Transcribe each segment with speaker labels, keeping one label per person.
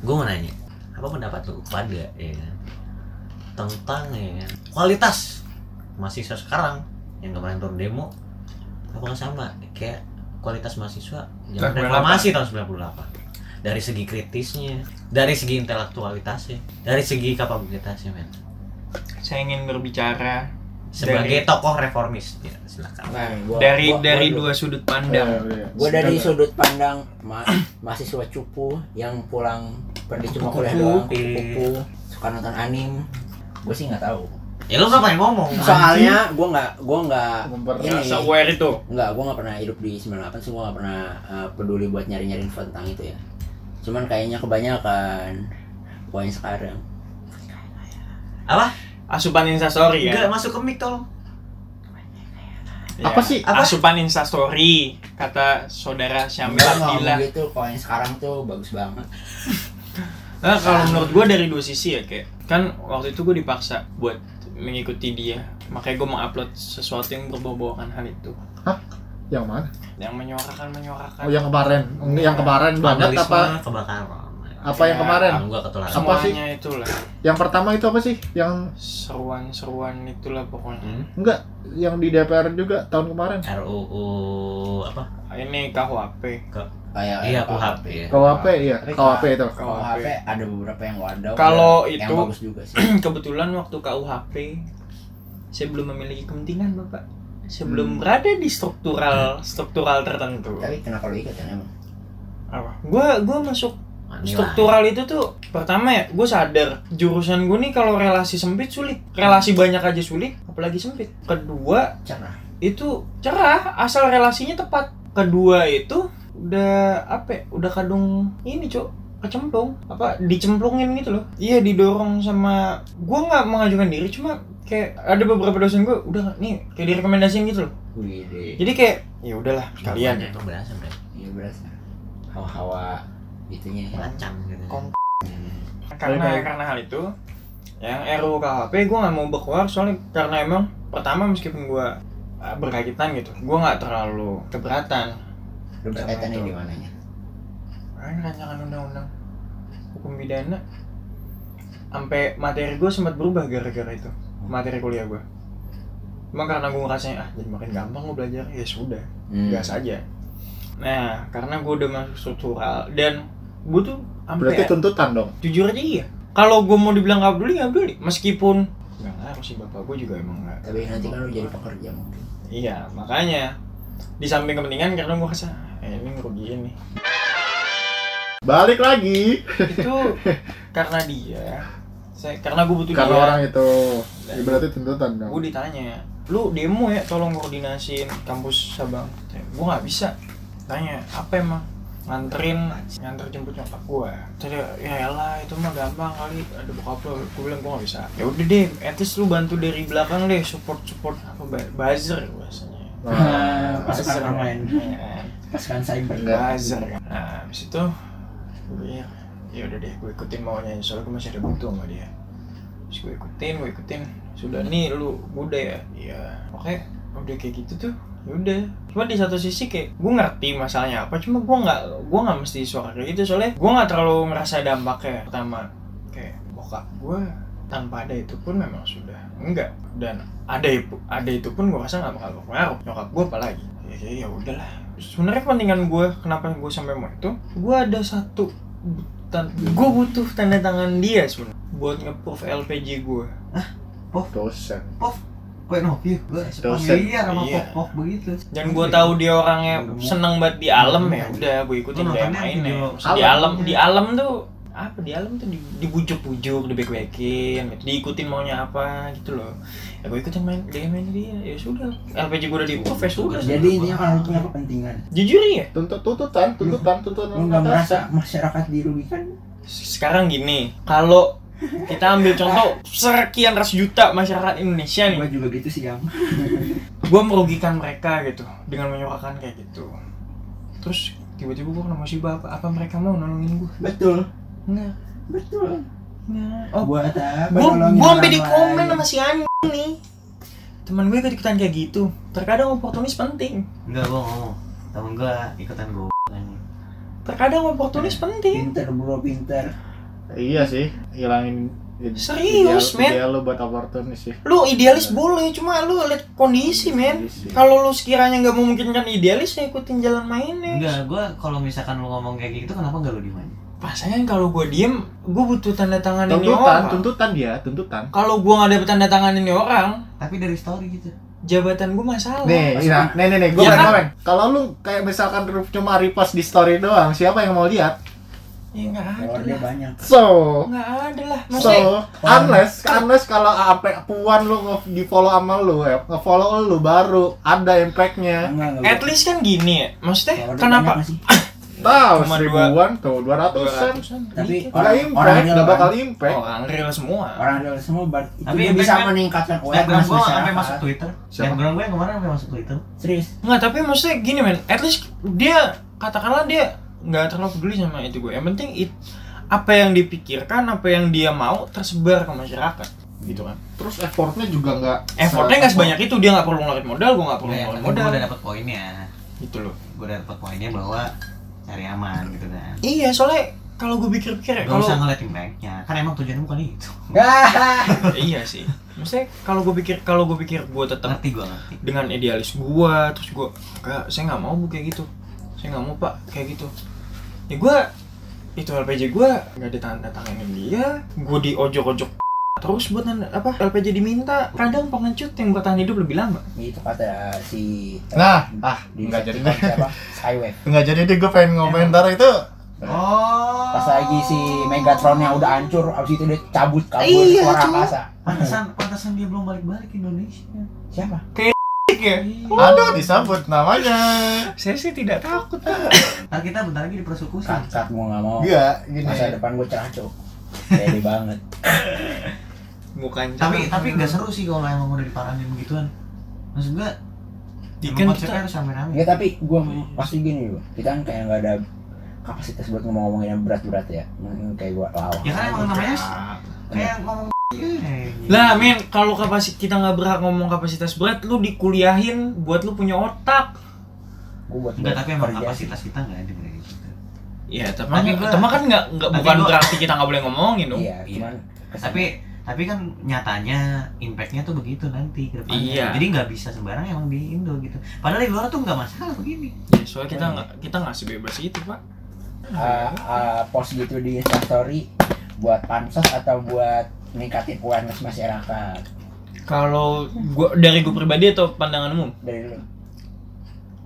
Speaker 1: gue mau nanya apa pendapat lu pada ya kan, tentang ya kan, kualitas mahasiswa sekarang yang kemarin turun demo apa sama kayak kualitas mahasiswa zaman
Speaker 2: 98.
Speaker 1: reformasi tahun 98 dari segi kritisnya dari segi intelektualitasnya dari segi kapabilitasnya men
Speaker 2: saya ingin berbicara
Speaker 1: sebagai
Speaker 2: Dari-
Speaker 1: tokoh reformis ya silakan
Speaker 3: Nah, gua-
Speaker 2: dari
Speaker 3: gua- gua
Speaker 2: dari
Speaker 3: dulu.
Speaker 2: dua sudut
Speaker 4: Iya,
Speaker 2: pandang
Speaker 3: Gue dari sudut pandang ma- mahasiswa cupu yang pulang pergi cuma kuliah doang, kupu-kupu, suka nonton anime. Gue sih nggak tahu.
Speaker 1: ya lu ngapain ngomong
Speaker 3: Soalnya gue nggak, gue nggak
Speaker 4: Iya.
Speaker 3: ini.
Speaker 2: aware itu
Speaker 3: Nggak, gue nggak pernah hidup di 98, so gue nggak pernah eh, peduli buat nyari-nyari info tentang itu ya. Cuman kayaknya kebanyakan poin sekarang.
Speaker 2: asupan instastory
Speaker 1: enggak
Speaker 2: ya
Speaker 1: masuk ke mic tolong
Speaker 2: Ya,
Speaker 4: Apa sih? Apa?
Speaker 2: asupan instastory kata saudara Syamil
Speaker 3: Enggak
Speaker 2: Abdillah
Speaker 3: ngomong gitu, poin sekarang tuh bagus banget.
Speaker 2: Nah, kalau menurut gue dari dua sisi ya kayak kan waktu itu gue dipaksa buat mengikuti dia makanya gue mengupload sesuatu yang berbau-baukan hal itu
Speaker 4: Yang mana?
Speaker 2: yang menyuarakan menyuarakan
Speaker 4: Oh, yang kemarin. Yang kemarin banget
Speaker 1: Vandalisme,
Speaker 4: apa
Speaker 1: kebakaran
Speaker 4: apa yang kemarin?
Speaker 1: Kalau gua ketularan
Speaker 4: Apa sih?
Speaker 2: semuanya itulah
Speaker 4: Yang pertama itu apa sih? Yang
Speaker 2: seruan-seruan itulah pokoknya
Speaker 1: Hmm?
Speaker 4: enggak yang di DPR juga tahun kemarin.
Speaker 1: RUU apa?
Speaker 2: ini KUHP
Speaker 3: Kayak
Speaker 1: Iya, KUHP ya.
Speaker 4: KWP ya, KWP itu.
Speaker 3: KUHP ada beberapa yang wadah.
Speaker 2: Kalau
Speaker 3: yang
Speaker 2: itu-
Speaker 3: bagus juga sih.
Speaker 2: kebetulan waktu KUHP saya belum memiliki kepentingan bapak saya belum berada di struktural struktural tertentu
Speaker 3: Tapi kenapa lu ikut kan emang?
Speaker 2: apa gua gua masuk
Speaker 1: Inilah.
Speaker 2: struktural itu tuh pertama ya gue sadar jurusan gue nih kalau relasi sempit sulit relasi banyak aja sulit apalagi sempit kedua
Speaker 3: Cerah.
Speaker 2: itu cerah asal relasinya tepat kedua itu udah apa ya, udah kadung ini cok kecemplung apa dicemplungin gitu loh iya didorong sama gue nggak mengajukan diri cuma kayak ada beberapa dosen gue udah nih kayak direkomendasiin gitu loh
Speaker 3: Wih deh.
Speaker 2: jadi kayak ya udahlah kalian
Speaker 1: Itu berasa berasa
Speaker 3: Iya berasa. Hawa-hawa itunya ya.
Speaker 1: lancang gitu.
Speaker 2: Kom-
Speaker 3: Hmm.
Speaker 2: karena
Speaker 4: Baik-baik.
Speaker 2: karena hal itu yang RUU KHP gue nggak mau berkeluar soalnya karena emang pertama meskipun gue eh, berkaitan gitu gue nggak terlalu keberatan
Speaker 3: Lu berkaitannya
Speaker 2: Sama itu.
Speaker 3: di mananya?
Speaker 2: kan rancangan undang-undang hukum pidana sampai materi gue sempat berubah gara-gara itu materi kuliah gue Emang karena gue ngerasanya, ah jadi makin gampang gue belajar, ya sudah,
Speaker 3: Hmm.
Speaker 2: gas aja Nah, karena gue udah masuk struktural dan gue tuh sampai
Speaker 4: Berarti tuntutan dong.
Speaker 2: jujur aja iya kalau gue mau dibilang nggak peduli nggak peduli meskipun nggak ngaruh sih bapak gue juga emang nggak
Speaker 3: Tapi nanti kan lu jadi pekerja mungkin.
Speaker 2: iya makanya di samping kepentingan karena gue rasa eh, ini ngerugiin nih
Speaker 4: Balik lagi
Speaker 2: itu karena dia saya karena gue butuh
Speaker 4: karena
Speaker 2: dia
Speaker 4: orang itu. Ya, berarti tuntutan dong.
Speaker 2: gue ditanya lu demo ya tolong koordinasiin kampus Sabang gue nggak bisa tanya apa emang nganterin nganter jemput nyokap gue tadi ya elah itu mah gampang kali ada bokap lo gue bilang gue nggak bisa ya udah deh at least lu bantu dari belakang deh support support apa ba- buzzer biasanya
Speaker 4: Nah,
Speaker 3: Pasukan online.
Speaker 2: Iya kan?
Speaker 3: Pasukan cyber.
Speaker 4: Enggak.
Speaker 2: buzzer kan nah abis itu gue bilang ya udah deh gue ikutin maunya soalnya gue masih ada butuh sama dia terus gue ikutin gue ikutin sudah nih lu muda ya iya oke udah kayak gitu tuh ya udah cuma di satu sisi kayak gue ngerti masalahnya apa cuma gue nggak gue nggak mesti suara kayak gitu soalnya gue nggak terlalu ngerasa dampaknya pertama kayak bokap gue tanpa ada itu pun memang sudah enggak dan ada itu ada itu pun gue rasa nggak bakal berpengaruh nyokap gue apalagi ya, ya, ya udahlah sebenarnya kepentingan gue kenapa gue sampai mau itu gue ada satu gue butuh tanda tangan dia sebenarnya buat nge-proof LPG gue
Speaker 4: dosen.
Speaker 5: point of view gue
Speaker 4: Dosen.
Speaker 5: familiar sama
Speaker 2: Iya.
Speaker 5: pop-pop begitu
Speaker 2: dan gue tahu dia orangnya seneng banget di alam ya udah gue ikutin
Speaker 5: Lu
Speaker 2: dia
Speaker 5: nontonnya
Speaker 2: mainnya
Speaker 5: video
Speaker 2: Maksudnya di
Speaker 5: alam. Iya.
Speaker 2: alam di alam tuh apa di alam tuh di- dibujuk-bujuk dibek-bekin gitu. diikutin maunya apa gitu loh ya gue ikutin main dia main dia ya sudah LPG gue udah di proof ya sudah
Speaker 3: Jadi intinya kalau lu punya kepentingan,
Speaker 2: jujur ya
Speaker 4: Tuntut tuntutan, tuntutan, tuntutan.
Speaker 3: lu nggak
Speaker 4: atas.
Speaker 3: merasa masyarakat dirugikan?
Speaker 2: sekarang gini kalau kita ambil contoh sekian ratus juta masyarakat Indonesia nih
Speaker 5: gue juga gitu sih gam
Speaker 2: gue merugikan mereka gitu dengan menyuarakan kayak gitu terus tiba-tiba gue kena musibah apa, apa mereka mau nolongin gue
Speaker 3: Betul,
Speaker 2: enggak
Speaker 3: betul.
Speaker 2: enggak oh
Speaker 3: Buat apa?
Speaker 2: gue
Speaker 3: nolongin
Speaker 2: gue sampai
Speaker 3: orang
Speaker 2: di komen
Speaker 3: lain?
Speaker 2: sama si anjing nih teman gue ikut ikutan kayak gitu terkadang oportunis penting
Speaker 1: Enggak gua ngomong. Temen gua ikutan gua.
Speaker 2: terkadang oportunis penting
Speaker 3: Pinter bro, pinter.
Speaker 4: Iya sih, hilangin ide-
Speaker 2: Serius,
Speaker 4: ideal,
Speaker 2: men?
Speaker 4: Ideal lo buat oportunis sih.
Speaker 2: Lu idealis boleh, cuma lu lihat kondisi, men. Kalau lu sekiranya nggak memungkinkan idealis, ya ikutin jalan mainnya.
Speaker 5: Enggak, gue kalau misalkan lu ngomong kayak gitu kenapa nggak lu dimain?
Speaker 2: Pasangan kalau gue diem, gue butuh tanda tangan ini
Speaker 4: Tuntutan,
Speaker 2: orang.
Speaker 4: tuntutan dia, tuntutan.
Speaker 2: Kalau gue nggak dapet tanda tangan ini orang,
Speaker 5: Tapi dari story gitu.
Speaker 2: jabatan gue masalah.
Speaker 4: Nih, nah, nih, nih, nih, gue
Speaker 2: Iya
Speaker 4: pengen
Speaker 2: kan?
Speaker 4: komen. Kalau lu kayak misalkan cuma repost di story doang, siapa yang mau lihat?
Speaker 2: Ya nggak ada
Speaker 3: followernya
Speaker 2: lah.
Speaker 3: banyak
Speaker 4: So,
Speaker 2: Nggak ada lah.
Speaker 4: so,
Speaker 2: Maksudnya,
Speaker 4: unless, unless kalau apa puan lu nge di follow sama lu, ya, nge follow lu baru ada impactnya.
Speaker 3: enggak enggak
Speaker 2: at least kan gini ya. Maksudnya,
Speaker 3: followernya
Speaker 2: kenapa?
Speaker 3: banyak masih.
Speaker 4: Tahu
Speaker 2: Cuma
Speaker 4: seribuan tuh, dua ratusan.
Speaker 2: 200-an. Dikit.
Speaker 3: Tapi
Speaker 4: Gak
Speaker 3: orang- orang
Speaker 4: impact,
Speaker 3: real
Speaker 4: gak bakal
Speaker 3: kan?
Speaker 4: impact.
Speaker 2: orang real semua.
Speaker 3: orang real semua bar itu
Speaker 5: Tapi
Speaker 3: dia bisa
Speaker 5: impact-nya-
Speaker 3: meningkatkan
Speaker 5: Instagram
Speaker 3: awareness
Speaker 5: gue sampai
Speaker 3: masyarakat
Speaker 5: masuk Twitter.
Speaker 4: Siapa?
Speaker 5: Instagram gue yang kemarin sampai masuk Twitter.
Speaker 3: serius
Speaker 2: Nggak, tapi maksudnya gini men, at least dia katakanlah dia nggak terlalu peduli sama itu gue. Yang penting it, apa yang dipikirkan, apa yang dia mau tersebar ke masyarakat. Gitu kan.
Speaker 4: Terus effortnya juga nggak.
Speaker 2: Effortnya nggak sebanyak itu, dia nggak perlu ngeluarin modal, gue nggak perlu
Speaker 5: Gue
Speaker 2: ngeluarin
Speaker 5: udah
Speaker 2: modal.
Speaker 5: dapet poinnya.
Speaker 2: Gitu loh.
Speaker 5: Gue udah dapet poinnya bahwa cari aman gitu kan.
Speaker 2: Iya, soalnya kalau gue pikir-pikir ya,
Speaker 5: Gak
Speaker 2: kalau
Speaker 5: usah ngeliat impactnya, kan emang tujuannya bukan itu
Speaker 2: iya sih. Maksudnya kalau gue pikir kalau gue pikir gue tetap
Speaker 5: Ngerti gue ngerti
Speaker 2: dengan idealis gua terus gua kak saya nggak mau bu kayak gitu saya nggak mau pak kayak gitu ya gua itu LPJ gua nggak ada tanda tanganin dia gua di ojok-ojok terus buat nanda- apa LPJ diminta kadang pengecut yang bertahan hidup lebih lama
Speaker 3: itu kata si
Speaker 4: Nah, ah, nggak jadi deh.
Speaker 3: siapa Skyway
Speaker 4: Nggak jadi deh, gue pengen komentar itu.
Speaker 5: Oh
Speaker 3: pas lagi si Megatronnya udah hancur abis itu dia cabut kabur
Speaker 2: Iya,
Speaker 3: keluar
Speaker 2: cuy.
Speaker 3: angkasa
Speaker 5: Pantesan, pantesan dia belum balik-balik ke Indonesia
Speaker 3: siapa
Speaker 2: ya
Speaker 4: Aduh, disambut namanya.
Speaker 2: saya sih tidak takut
Speaker 5: Ntar kita bentar lagi dipersekusi
Speaker 3: cut cut gua nggak mau
Speaker 4: Enggak, gini.
Speaker 3: masa depan gua cerah cok Pede banget
Speaker 2: bukan
Speaker 5: Tapi tapi gak seru sih kalau emang udah diparanin begituan Maksud gue,
Speaker 2: Diken
Speaker 5: emang konsepnya
Speaker 2: kita
Speaker 5: harus rame-rame
Speaker 3: ya tapi gua pasti gini loh kita kan kayak nggak ada kapasitas buat ngomong-ngomongin yang berat-berat ya Mungkin kayak gua lawan gitu.
Speaker 5: Ya kan emang namanya kayak ngomong eh, gitu.
Speaker 2: Iya. lah men kalau kapasitas kita nggak berhak ngomong kapasitas berat lu dikuliahin buat lu punya otak
Speaker 3: gua buat
Speaker 5: Enggak, tapi emang
Speaker 2: Iya.
Speaker 3: kerja sih.
Speaker 5: kapasitas kita nggak ada kayak gitu
Speaker 2: ya tapi,
Speaker 5: Tapi gua-
Speaker 2: tapi kan nggak nggak
Speaker 5: tapi
Speaker 2: bukan
Speaker 5: gua-
Speaker 2: berarti kita nggak boleh ngomongin dong
Speaker 3: iya
Speaker 5: Iya.
Speaker 3: cuman kesan-
Speaker 5: Tapi tapi kan nyatanya impactnya tuh begitu nanti ke depannya.
Speaker 2: Iya.
Speaker 5: Jadi nggak bisa sembarang emang di Indo gitu. Padahal di luar tuh nggak masalah begini.
Speaker 2: Ya, soalnya kita nggak kita nggak sebebas itu pak.
Speaker 3: uh, uh, post gitu di instastory buat pansos atau buat ningkatin awareness masyarakat
Speaker 2: Kalau gua dari gua pribadi atau pandangan umum,
Speaker 3: dari lu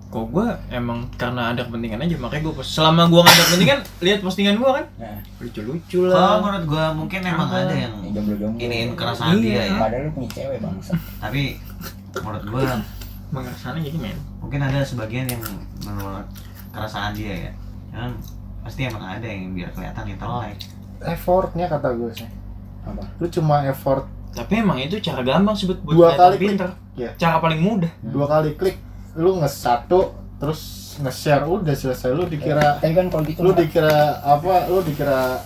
Speaker 2: kok gua emang karena ada kepentingan aja makanya gua post. Selama gua nggak ada kepentingan, lihat postingan gua kan
Speaker 3: nah
Speaker 2: lucu-lucu
Speaker 5: Kalau
Speaker 2: lah.
Speaker 5: menurut gua mungkin emang
Speaker 2: Apa?
Speaker 5: ada yang
Speaker 3: yang jomblo-jomblo
Speaker 5: Hmm. iniin kerasaan
Speaker 2: Iya.
Speaker 5: dia ya.
Speaker 3: padahal lu punya cewek bangsa
Speaker 5: Tapi menurut gua
Speaker 2: Mengesannya jadi gitu, men.
Speaker 5: mungkin ada sebagian yang menurut kerasaan dia ya. Cuman pasti emang ada yang biar kelihatan ya, ditelek.
Speaker 4: Effortnya kata gue sih.
Speaker 3: Apa?
Speaker 4: Lu cuma effort
Speaker 2: Tapi emang itu cara gampang sih buat buat
Speaker 4: Dua
Speaker 2: kelihatan
Speaker 4: kali klik.
Speaker 2: pinter.
Speaker 4: Iya.
Speaker 2: Cara paling mudah.
Speaker 4: dua kali klik, lu nge satu, terus nge-share udah selesai. Lu dikira,
Speaker 3: tapi kan kalau gitu
Speaker 4: lu dikira apa? Lu dikira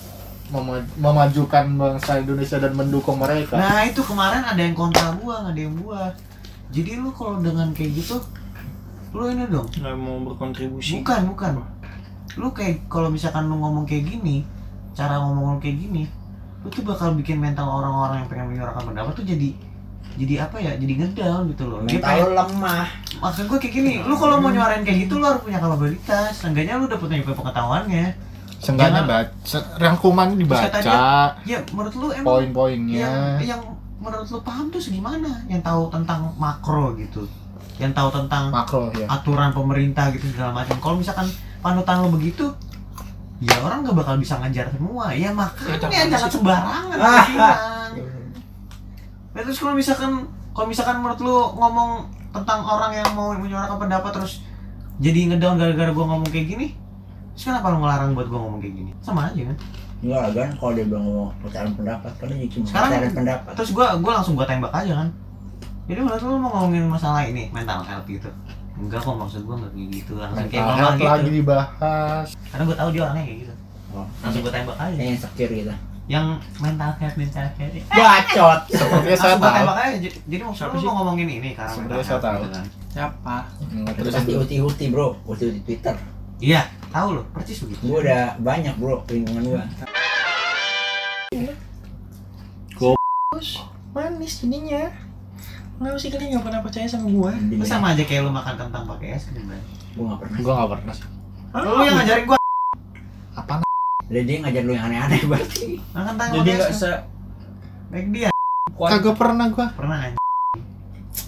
Speaker 4: mema- memajukan bangsa Indonesia dan mendukung mereka.
Speaker 5: Nah itu kemarin ada yang kontra gua, ada yang gua. Jadi lu kalau dengan kayak gitu, lu ini dong
Speaker 2: Nggak mau berkontribusi.
Speaker 5: Bukan, bukan. Lu kayak kalau misalkan lu ngomong kayak gini, cara ngomong lu kayak gini, lu tuh bakal bikin mental orang-orang yang pengen menyuarakan pendapat tuh jadi jadi apa ya? Jadi ngedown gitu loh. Dia
Speaker 3: mental
Speaker 5: pengen,
Speaker 3: lu lemah
Speaker 5: maksud gue kayak gini, lu kalau mau nyuarain kayak gitu lu harus punya kapabilitas. Seenggaknya lu udah punya pengetahuannya.
Speaker 4: Seenggaknya
Speaker 5: Jangan-
Speaker 4: baca, rangkuman dibaca,
Speaker 5: Ya menurut lu
Speaker 4: Oh,
Speaker 5: emang yang
Speaker 4: poin-poinnya.
Speaker 5: yang menurut lu paham tuh segimana? Yang tahu tentang makro gitu. Yang tahu tentang
Speaker 4: makro ya
Speaker 5: aturan pemerintah gitu segala macam. Kalau misalkan panutan lo begitu, ya orang nggak bakal bisa ngajar semua. Ya
Speaker 2: Kita-
Speaker 5: makanya jangan sembarangan.
Speaker 3: Ah.
Speaker 5: gua bilang. Nah, terus kalau misalkan kalau misalkan menurut lu ngomong tentang orang yang mau menyuarakan pendapat terus jadi ngedown gara-gara gua ngomong kayak gini, terus kenapa lu ngelarang buat gua ngomong kayak gini? Sama aja kan.
Speaker 3: enggak kan kalau dia bilang ngomong percayaan pendapat kan dia cuma
Speaker 5: Sekarang-
Speaker 3: percayaan pendapat
Speaker 5: Terus gua gua langsung gua tembak aja kan. Jadi menurut lu mau ngomongin masalah ini mental health gitu? Enggak kok maksud gua nggak kayak gitu langsung kayak
Speaker 4: mental
Speaker 5: ngomong
Speaker 4: health
Speaker 5: gitu.
Speaker 4: lagi dibahas
Speaker 5: karena gue tahu dia orangnya kayak gitu
Speaker 3: Oh.
Speaker 5: langsung gue tembak
Speaker 4: Iya.
Speaker 5: aja
Speaker 3: yang insecure gitu
Speaker 5: yang mental health mental health ya.
Speaker 3: bacot
Speaker 4: sepertinya saya
Speaker 5: langsung gue
Speaker 4: tahu
Speaker 5: tembak aja J- jadi maksud
Speaker 2: Siapa
Speaker 5: lu
Speaker 2: sih?
Speaker 5: mau ngomongin ini karena
Speaker 4: Sepertinya
Speaker 5: mental
Speaker 4: saya
Speaker 5: health
Speaker 4: tahu.
Speaker 5: gitu kan.
Speaker 2: Siapa?
Speaker 4: terus
Speaker 3: pasti uti-uti bro uti-uti twitter
Speaker 5: iya tahu loh persis begitu
Speaker 3: gua udah banyak bro lingkungan gua
Speaker 2: manis jadinya Kenapa sih kalian nggak pernah percaya sama gua?
Speaker 5: Itu sama aja kayak lu makan kentang pakai es krim kan.
Speaker 3: Gue gak pernah.
Speaker 4: Gua nggak pernah sih.
Speaker 5: Lu yang ngajarin gua
Speaker 4: Apa?
Speaker 3: Lah dia ngajar lu yang aneh-aneh berarti.
Speaker 5: makan kentang
Speaker 2: Jadi
Speaker 5: pakai
Speaker 2: nggak
Speaker 5: es.
Speaker 2: se
Speaker 5: Baik dia
Speaker 2: kuat
Speaker 4: Kagak pernah gua.
Speaker 5: pernah anjing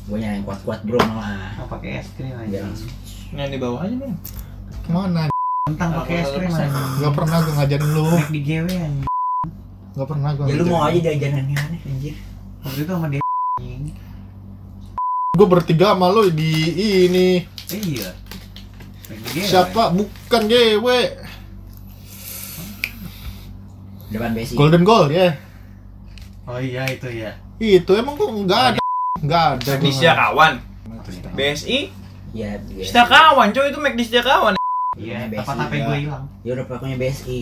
Speaker 3: Gue nyari yang kuat-kuat bro malah.
Speaker 5: mau pakai es krim
Speaker 3: Biar
Speaker 2: Iya.
Speaker 5: aja.
Speaker 3: langsung.
Speaker 2: yang di bawah aja bang.
Speaker 4: Mana?
Speaker 5: Kentang pakai es krim anjing.
Speaker 4: Gak pernah gua ngajarin lu.
Speaker 5: Mac di GW anjing.
Speaker 4: Gak pernah gua.
Speaker 3: Ya lu
Speaker 4: ngajarin.
Speaker 3: mau aja diajarin yang aneh anjir.
Speaker 5: Waktu itu sama dia anjing.
Speaker 4: Gua bertiga sama lu di ini.
Speaker 5: Eh, Iya. Mac di GW.
Speaker 4: Siapa? Bukan GW.
Speaker 3: Depan besi.
Speaker 4: Golden Goal ya.
Speaker 5: Oh iya itu ya.
Speaker 4: Itu emang kok nggak ada. Nggak ada. gua
Speaker 2: Magdistia
Speaker 4: nggak-
Speaker 2: kawan,
Speaker 4: Magdistia.
Speaker 2: BSI,
Speaker 3: Ya, ya.
Speaker 2: Distia kawan, coy itu Magdistia kawan.
Speaker 5: Iya,
Speaker 3: Besi,
Speaker 5: apa tapi
Speaker 4: iya.
Speaker 5: gue hilang.
Speaker 3: Ya udah pokoknya BSI.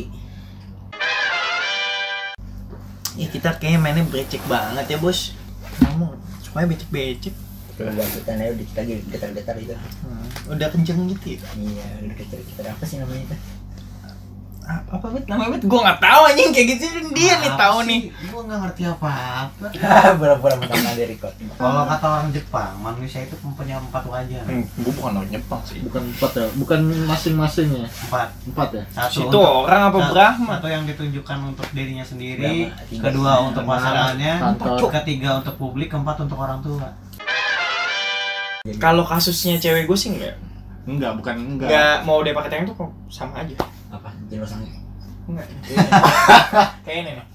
Speaker 2: Ya kita kayaknya mainnya becek banget ya bos. Kamu supaya becek-becek. Hmm,
Speaker 3: Kalau kita aja udah kita getar-getar gitu.
Speaker 2: Udah kenceng gitu ya.
Speaker 3: Iya, udah getar-getar apa sih namanya itu?
Speaker 2: Apa bet namanya bet? Gua nggak tahu anjing kayak gitu dia nih
Speaker 5: Apa
Speaker 2: tahu
Speaker 5: sih?
Speaker 2: nih.
Speaker 5: Gue nggak ngerti apa-apa.
Speaker 3: Ah, pura-pura mentang ada record.
Speaker 5: Kalau kata orang Jepang, manusia itu mempunyai empat wajah.
Speaker 2: Hmm, Gua bukan orang Jepang sih.
Speaker 4: Bukan empat ya. Bukan masing-masing ya.
Speaker 5: Empat.
Speaker 4: Empat ya.
Speaker 2: Itu
Speaker 5: Satu untuk-
Speaker 2: orang Nah. apa
Speaker 5: satu-
Speaker 2: Brahma?
Speaker 5: Satu yang ditunjukkan untuk dirinya sendiri,
Speaker 3: Brahma, tiga.
Speaker 5: kedua untuk
Speaker 4: Brahma,
Speaker 5: pasangannya,
Speaker 4: kantor.
Speaker 5: ketiga untuk publik, keempat untuk orang tua.
Speaker 2: Kalau kasusnya cewek gue sih nggak
Speaker 4: Enggak, bukan enggak.
Speaker 2: nggak mau dia pakai tangan tuh kok sama aja.
Speaker 3: Apa? Jenusang.
Speaker 2: Enggak. Kayak ini nih.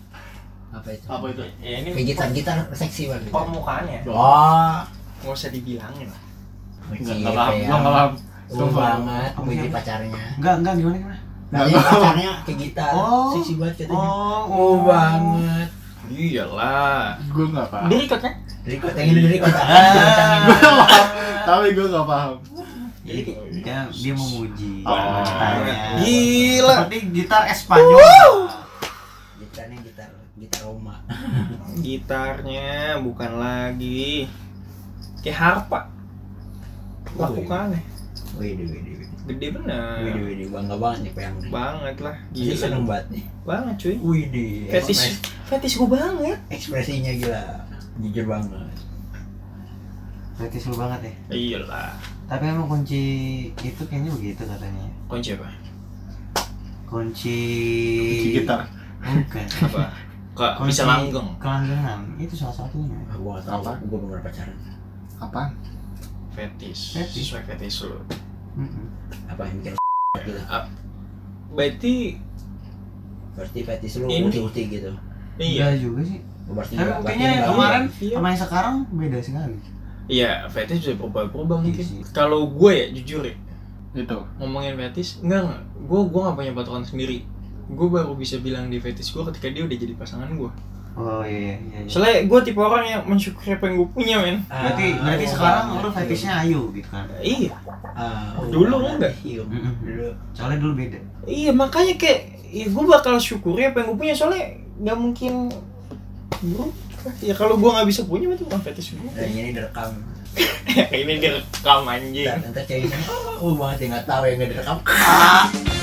Speaker 3: Apa itu?
Speaker 4: Apa itu?
Speaker 2: Ya ini
Speaker 3: Kayak gitu. gitar-gitar seksi banget.
Speaker 2: permukaannya.
Speaker 3: Oh,
Speaker 2: Nggak usah dibilangin. lah.
Speaker 4: Enggak, enggak paham. Gua nggak paham.
Speaker 3: Umum banget,
Speaker 5: Apa
Speaker 3: puji
Speaker 5: sih?
Speaker 3: pacarnya.
Speaker 5: Enggak, enggak gimana gimana?
Speaker 3: Nanti
Speaker 4: Nggak tahu.
Speaker 3: pacarnya kayak gitar,
Speaker 5: Oh.
Speaker 3: seksi banget katanya.
Speaker 5: Oh,
Speaker 3: Oh, banget.
Speaker 2: Iyalah.
Speaker 4: Gua nggak paham.
Speaker 2: Diri kan?
Speaker 3: Record yang ini record.
Speaker 4: Ah. Gua nggak paham. Tapi gua nggak paham.
Speaker 5: Jadi dia, dia memuji
Speaker 4: Oh.
Speaker 5: gitarnya.
Speaker 2: Gila.
Speaker 5: Seperti gitar Espanyol.
Speaker 3: Gitarnya gitar gitar Roma.
Speaker 2: Gitarnya bukan lagi kayak harpa. Lakukannya
Speaker 3: Wih, wih, wih, wih.
Speaker 2: gede
Speaker 3: Wih,
Speaker 2: bener.
Speaker 3: wih, bangga banget nih peyang.
Speaker 2: Banget lah. Gila
Speaker 3: Iya seneng banget nih.
Speaker 2: banget cuy.
Speaker 3: Wih, deh.
Speaker 2: Fetish fetish gue banget.
Speaker 3: ekspresinya gila. Jujur banget.
Speaker 5: Berarti seru banget ya.
Speaker 2: Iyalah.
Speaker 5: Tapi emang kunci itu kayaknya begitu katanya.
Speaker 2: Kunci apa?
Speaker 5: Kunci
Speaker 4: Kunci gitar.
Speaker 5: Bukan.
Speaker 2: Apa? Kok
Speaker 5: Kunci
Speaker 2: bisa langgeng?
Speaker 5: Kelanggengan itu salah satunya.
Speaker 3: Ah, gua gak tau,
Speaker 4: Apa?
Speaker 3: gua belum pernah pacaran.
Speaker 4: Apaan?
Speaker 2: Fetish.
Speaker 5: Fetish.
Speaker 2: Sesuai fetish lu.
Speaker 5: Mm-mm.
Speaker 3: Apa yang bikin gitu.
Speaker 2: Berarti
Speaker 3: Berarti fetis lu
Speaker 2: Ini.
Speaker 3: uti-uti gitu.
Speaker 2: iya.
Speaker 5: Enggak juga sih.
Speaker 3: Berarti
Speaker 5: Tapi
Speaker 3: nggak-
Speaker 5: buktinya
Speaker 3: berarti nggak-
Speaker 5: kemarin
Speaker 2: Iya.
Speaker 5: sama yang sekarang beda sekali.
Speaker 2: Iya, fetish bisa berubah-ubah
Speaker 5: Iya sih.
Speaker 2: mungkin. Kalau gue ya jujur ya,
Speaker 4: Itu.
Speaker 2: ngomongin fetish enggak enggak gue gue nggak punya patokan sendiri gue baru bisa bilang di fetish gue ketika dia udah jadi pasangan gue
Speaker 5: Oh iya iya. iya.
Speaker 2: soalnya gue tipe orang yang mensyukuri apa yang gue punya men
Speaker 3: Ah,
Speaker 5: Berarti berarti
Speaker 3: oh,
Speaker 5: sekarang
Speaker 3: banget.
Speaker 5: lu fetishnya Ayu gitu kan.
Speaker 2: iya
Speaker 3: Ah, oh,
Speaker 2: Dulu
Speaker 3: banget.
Speaker 2: enggak?
Speaker 3: Iya,
Speaker 5: Mm-mm.
Speaker 3: dulu.
Speaker 5: Soalnya dulu beda.
Speaker 2: iya makanya kayak ya gue bakal syukuri apa yang gue punya soalnya nggak mungkin berubah ya kalau gue nggak bisa punya itu bukan fetish gue
Speaker 3: Dan ini direkam.
Speaker 2: ini direkam anjing
Speaker 3: oh," Ntar ntar cewek sana, oh, oh banget ya nggak tahu yang nggak direkam.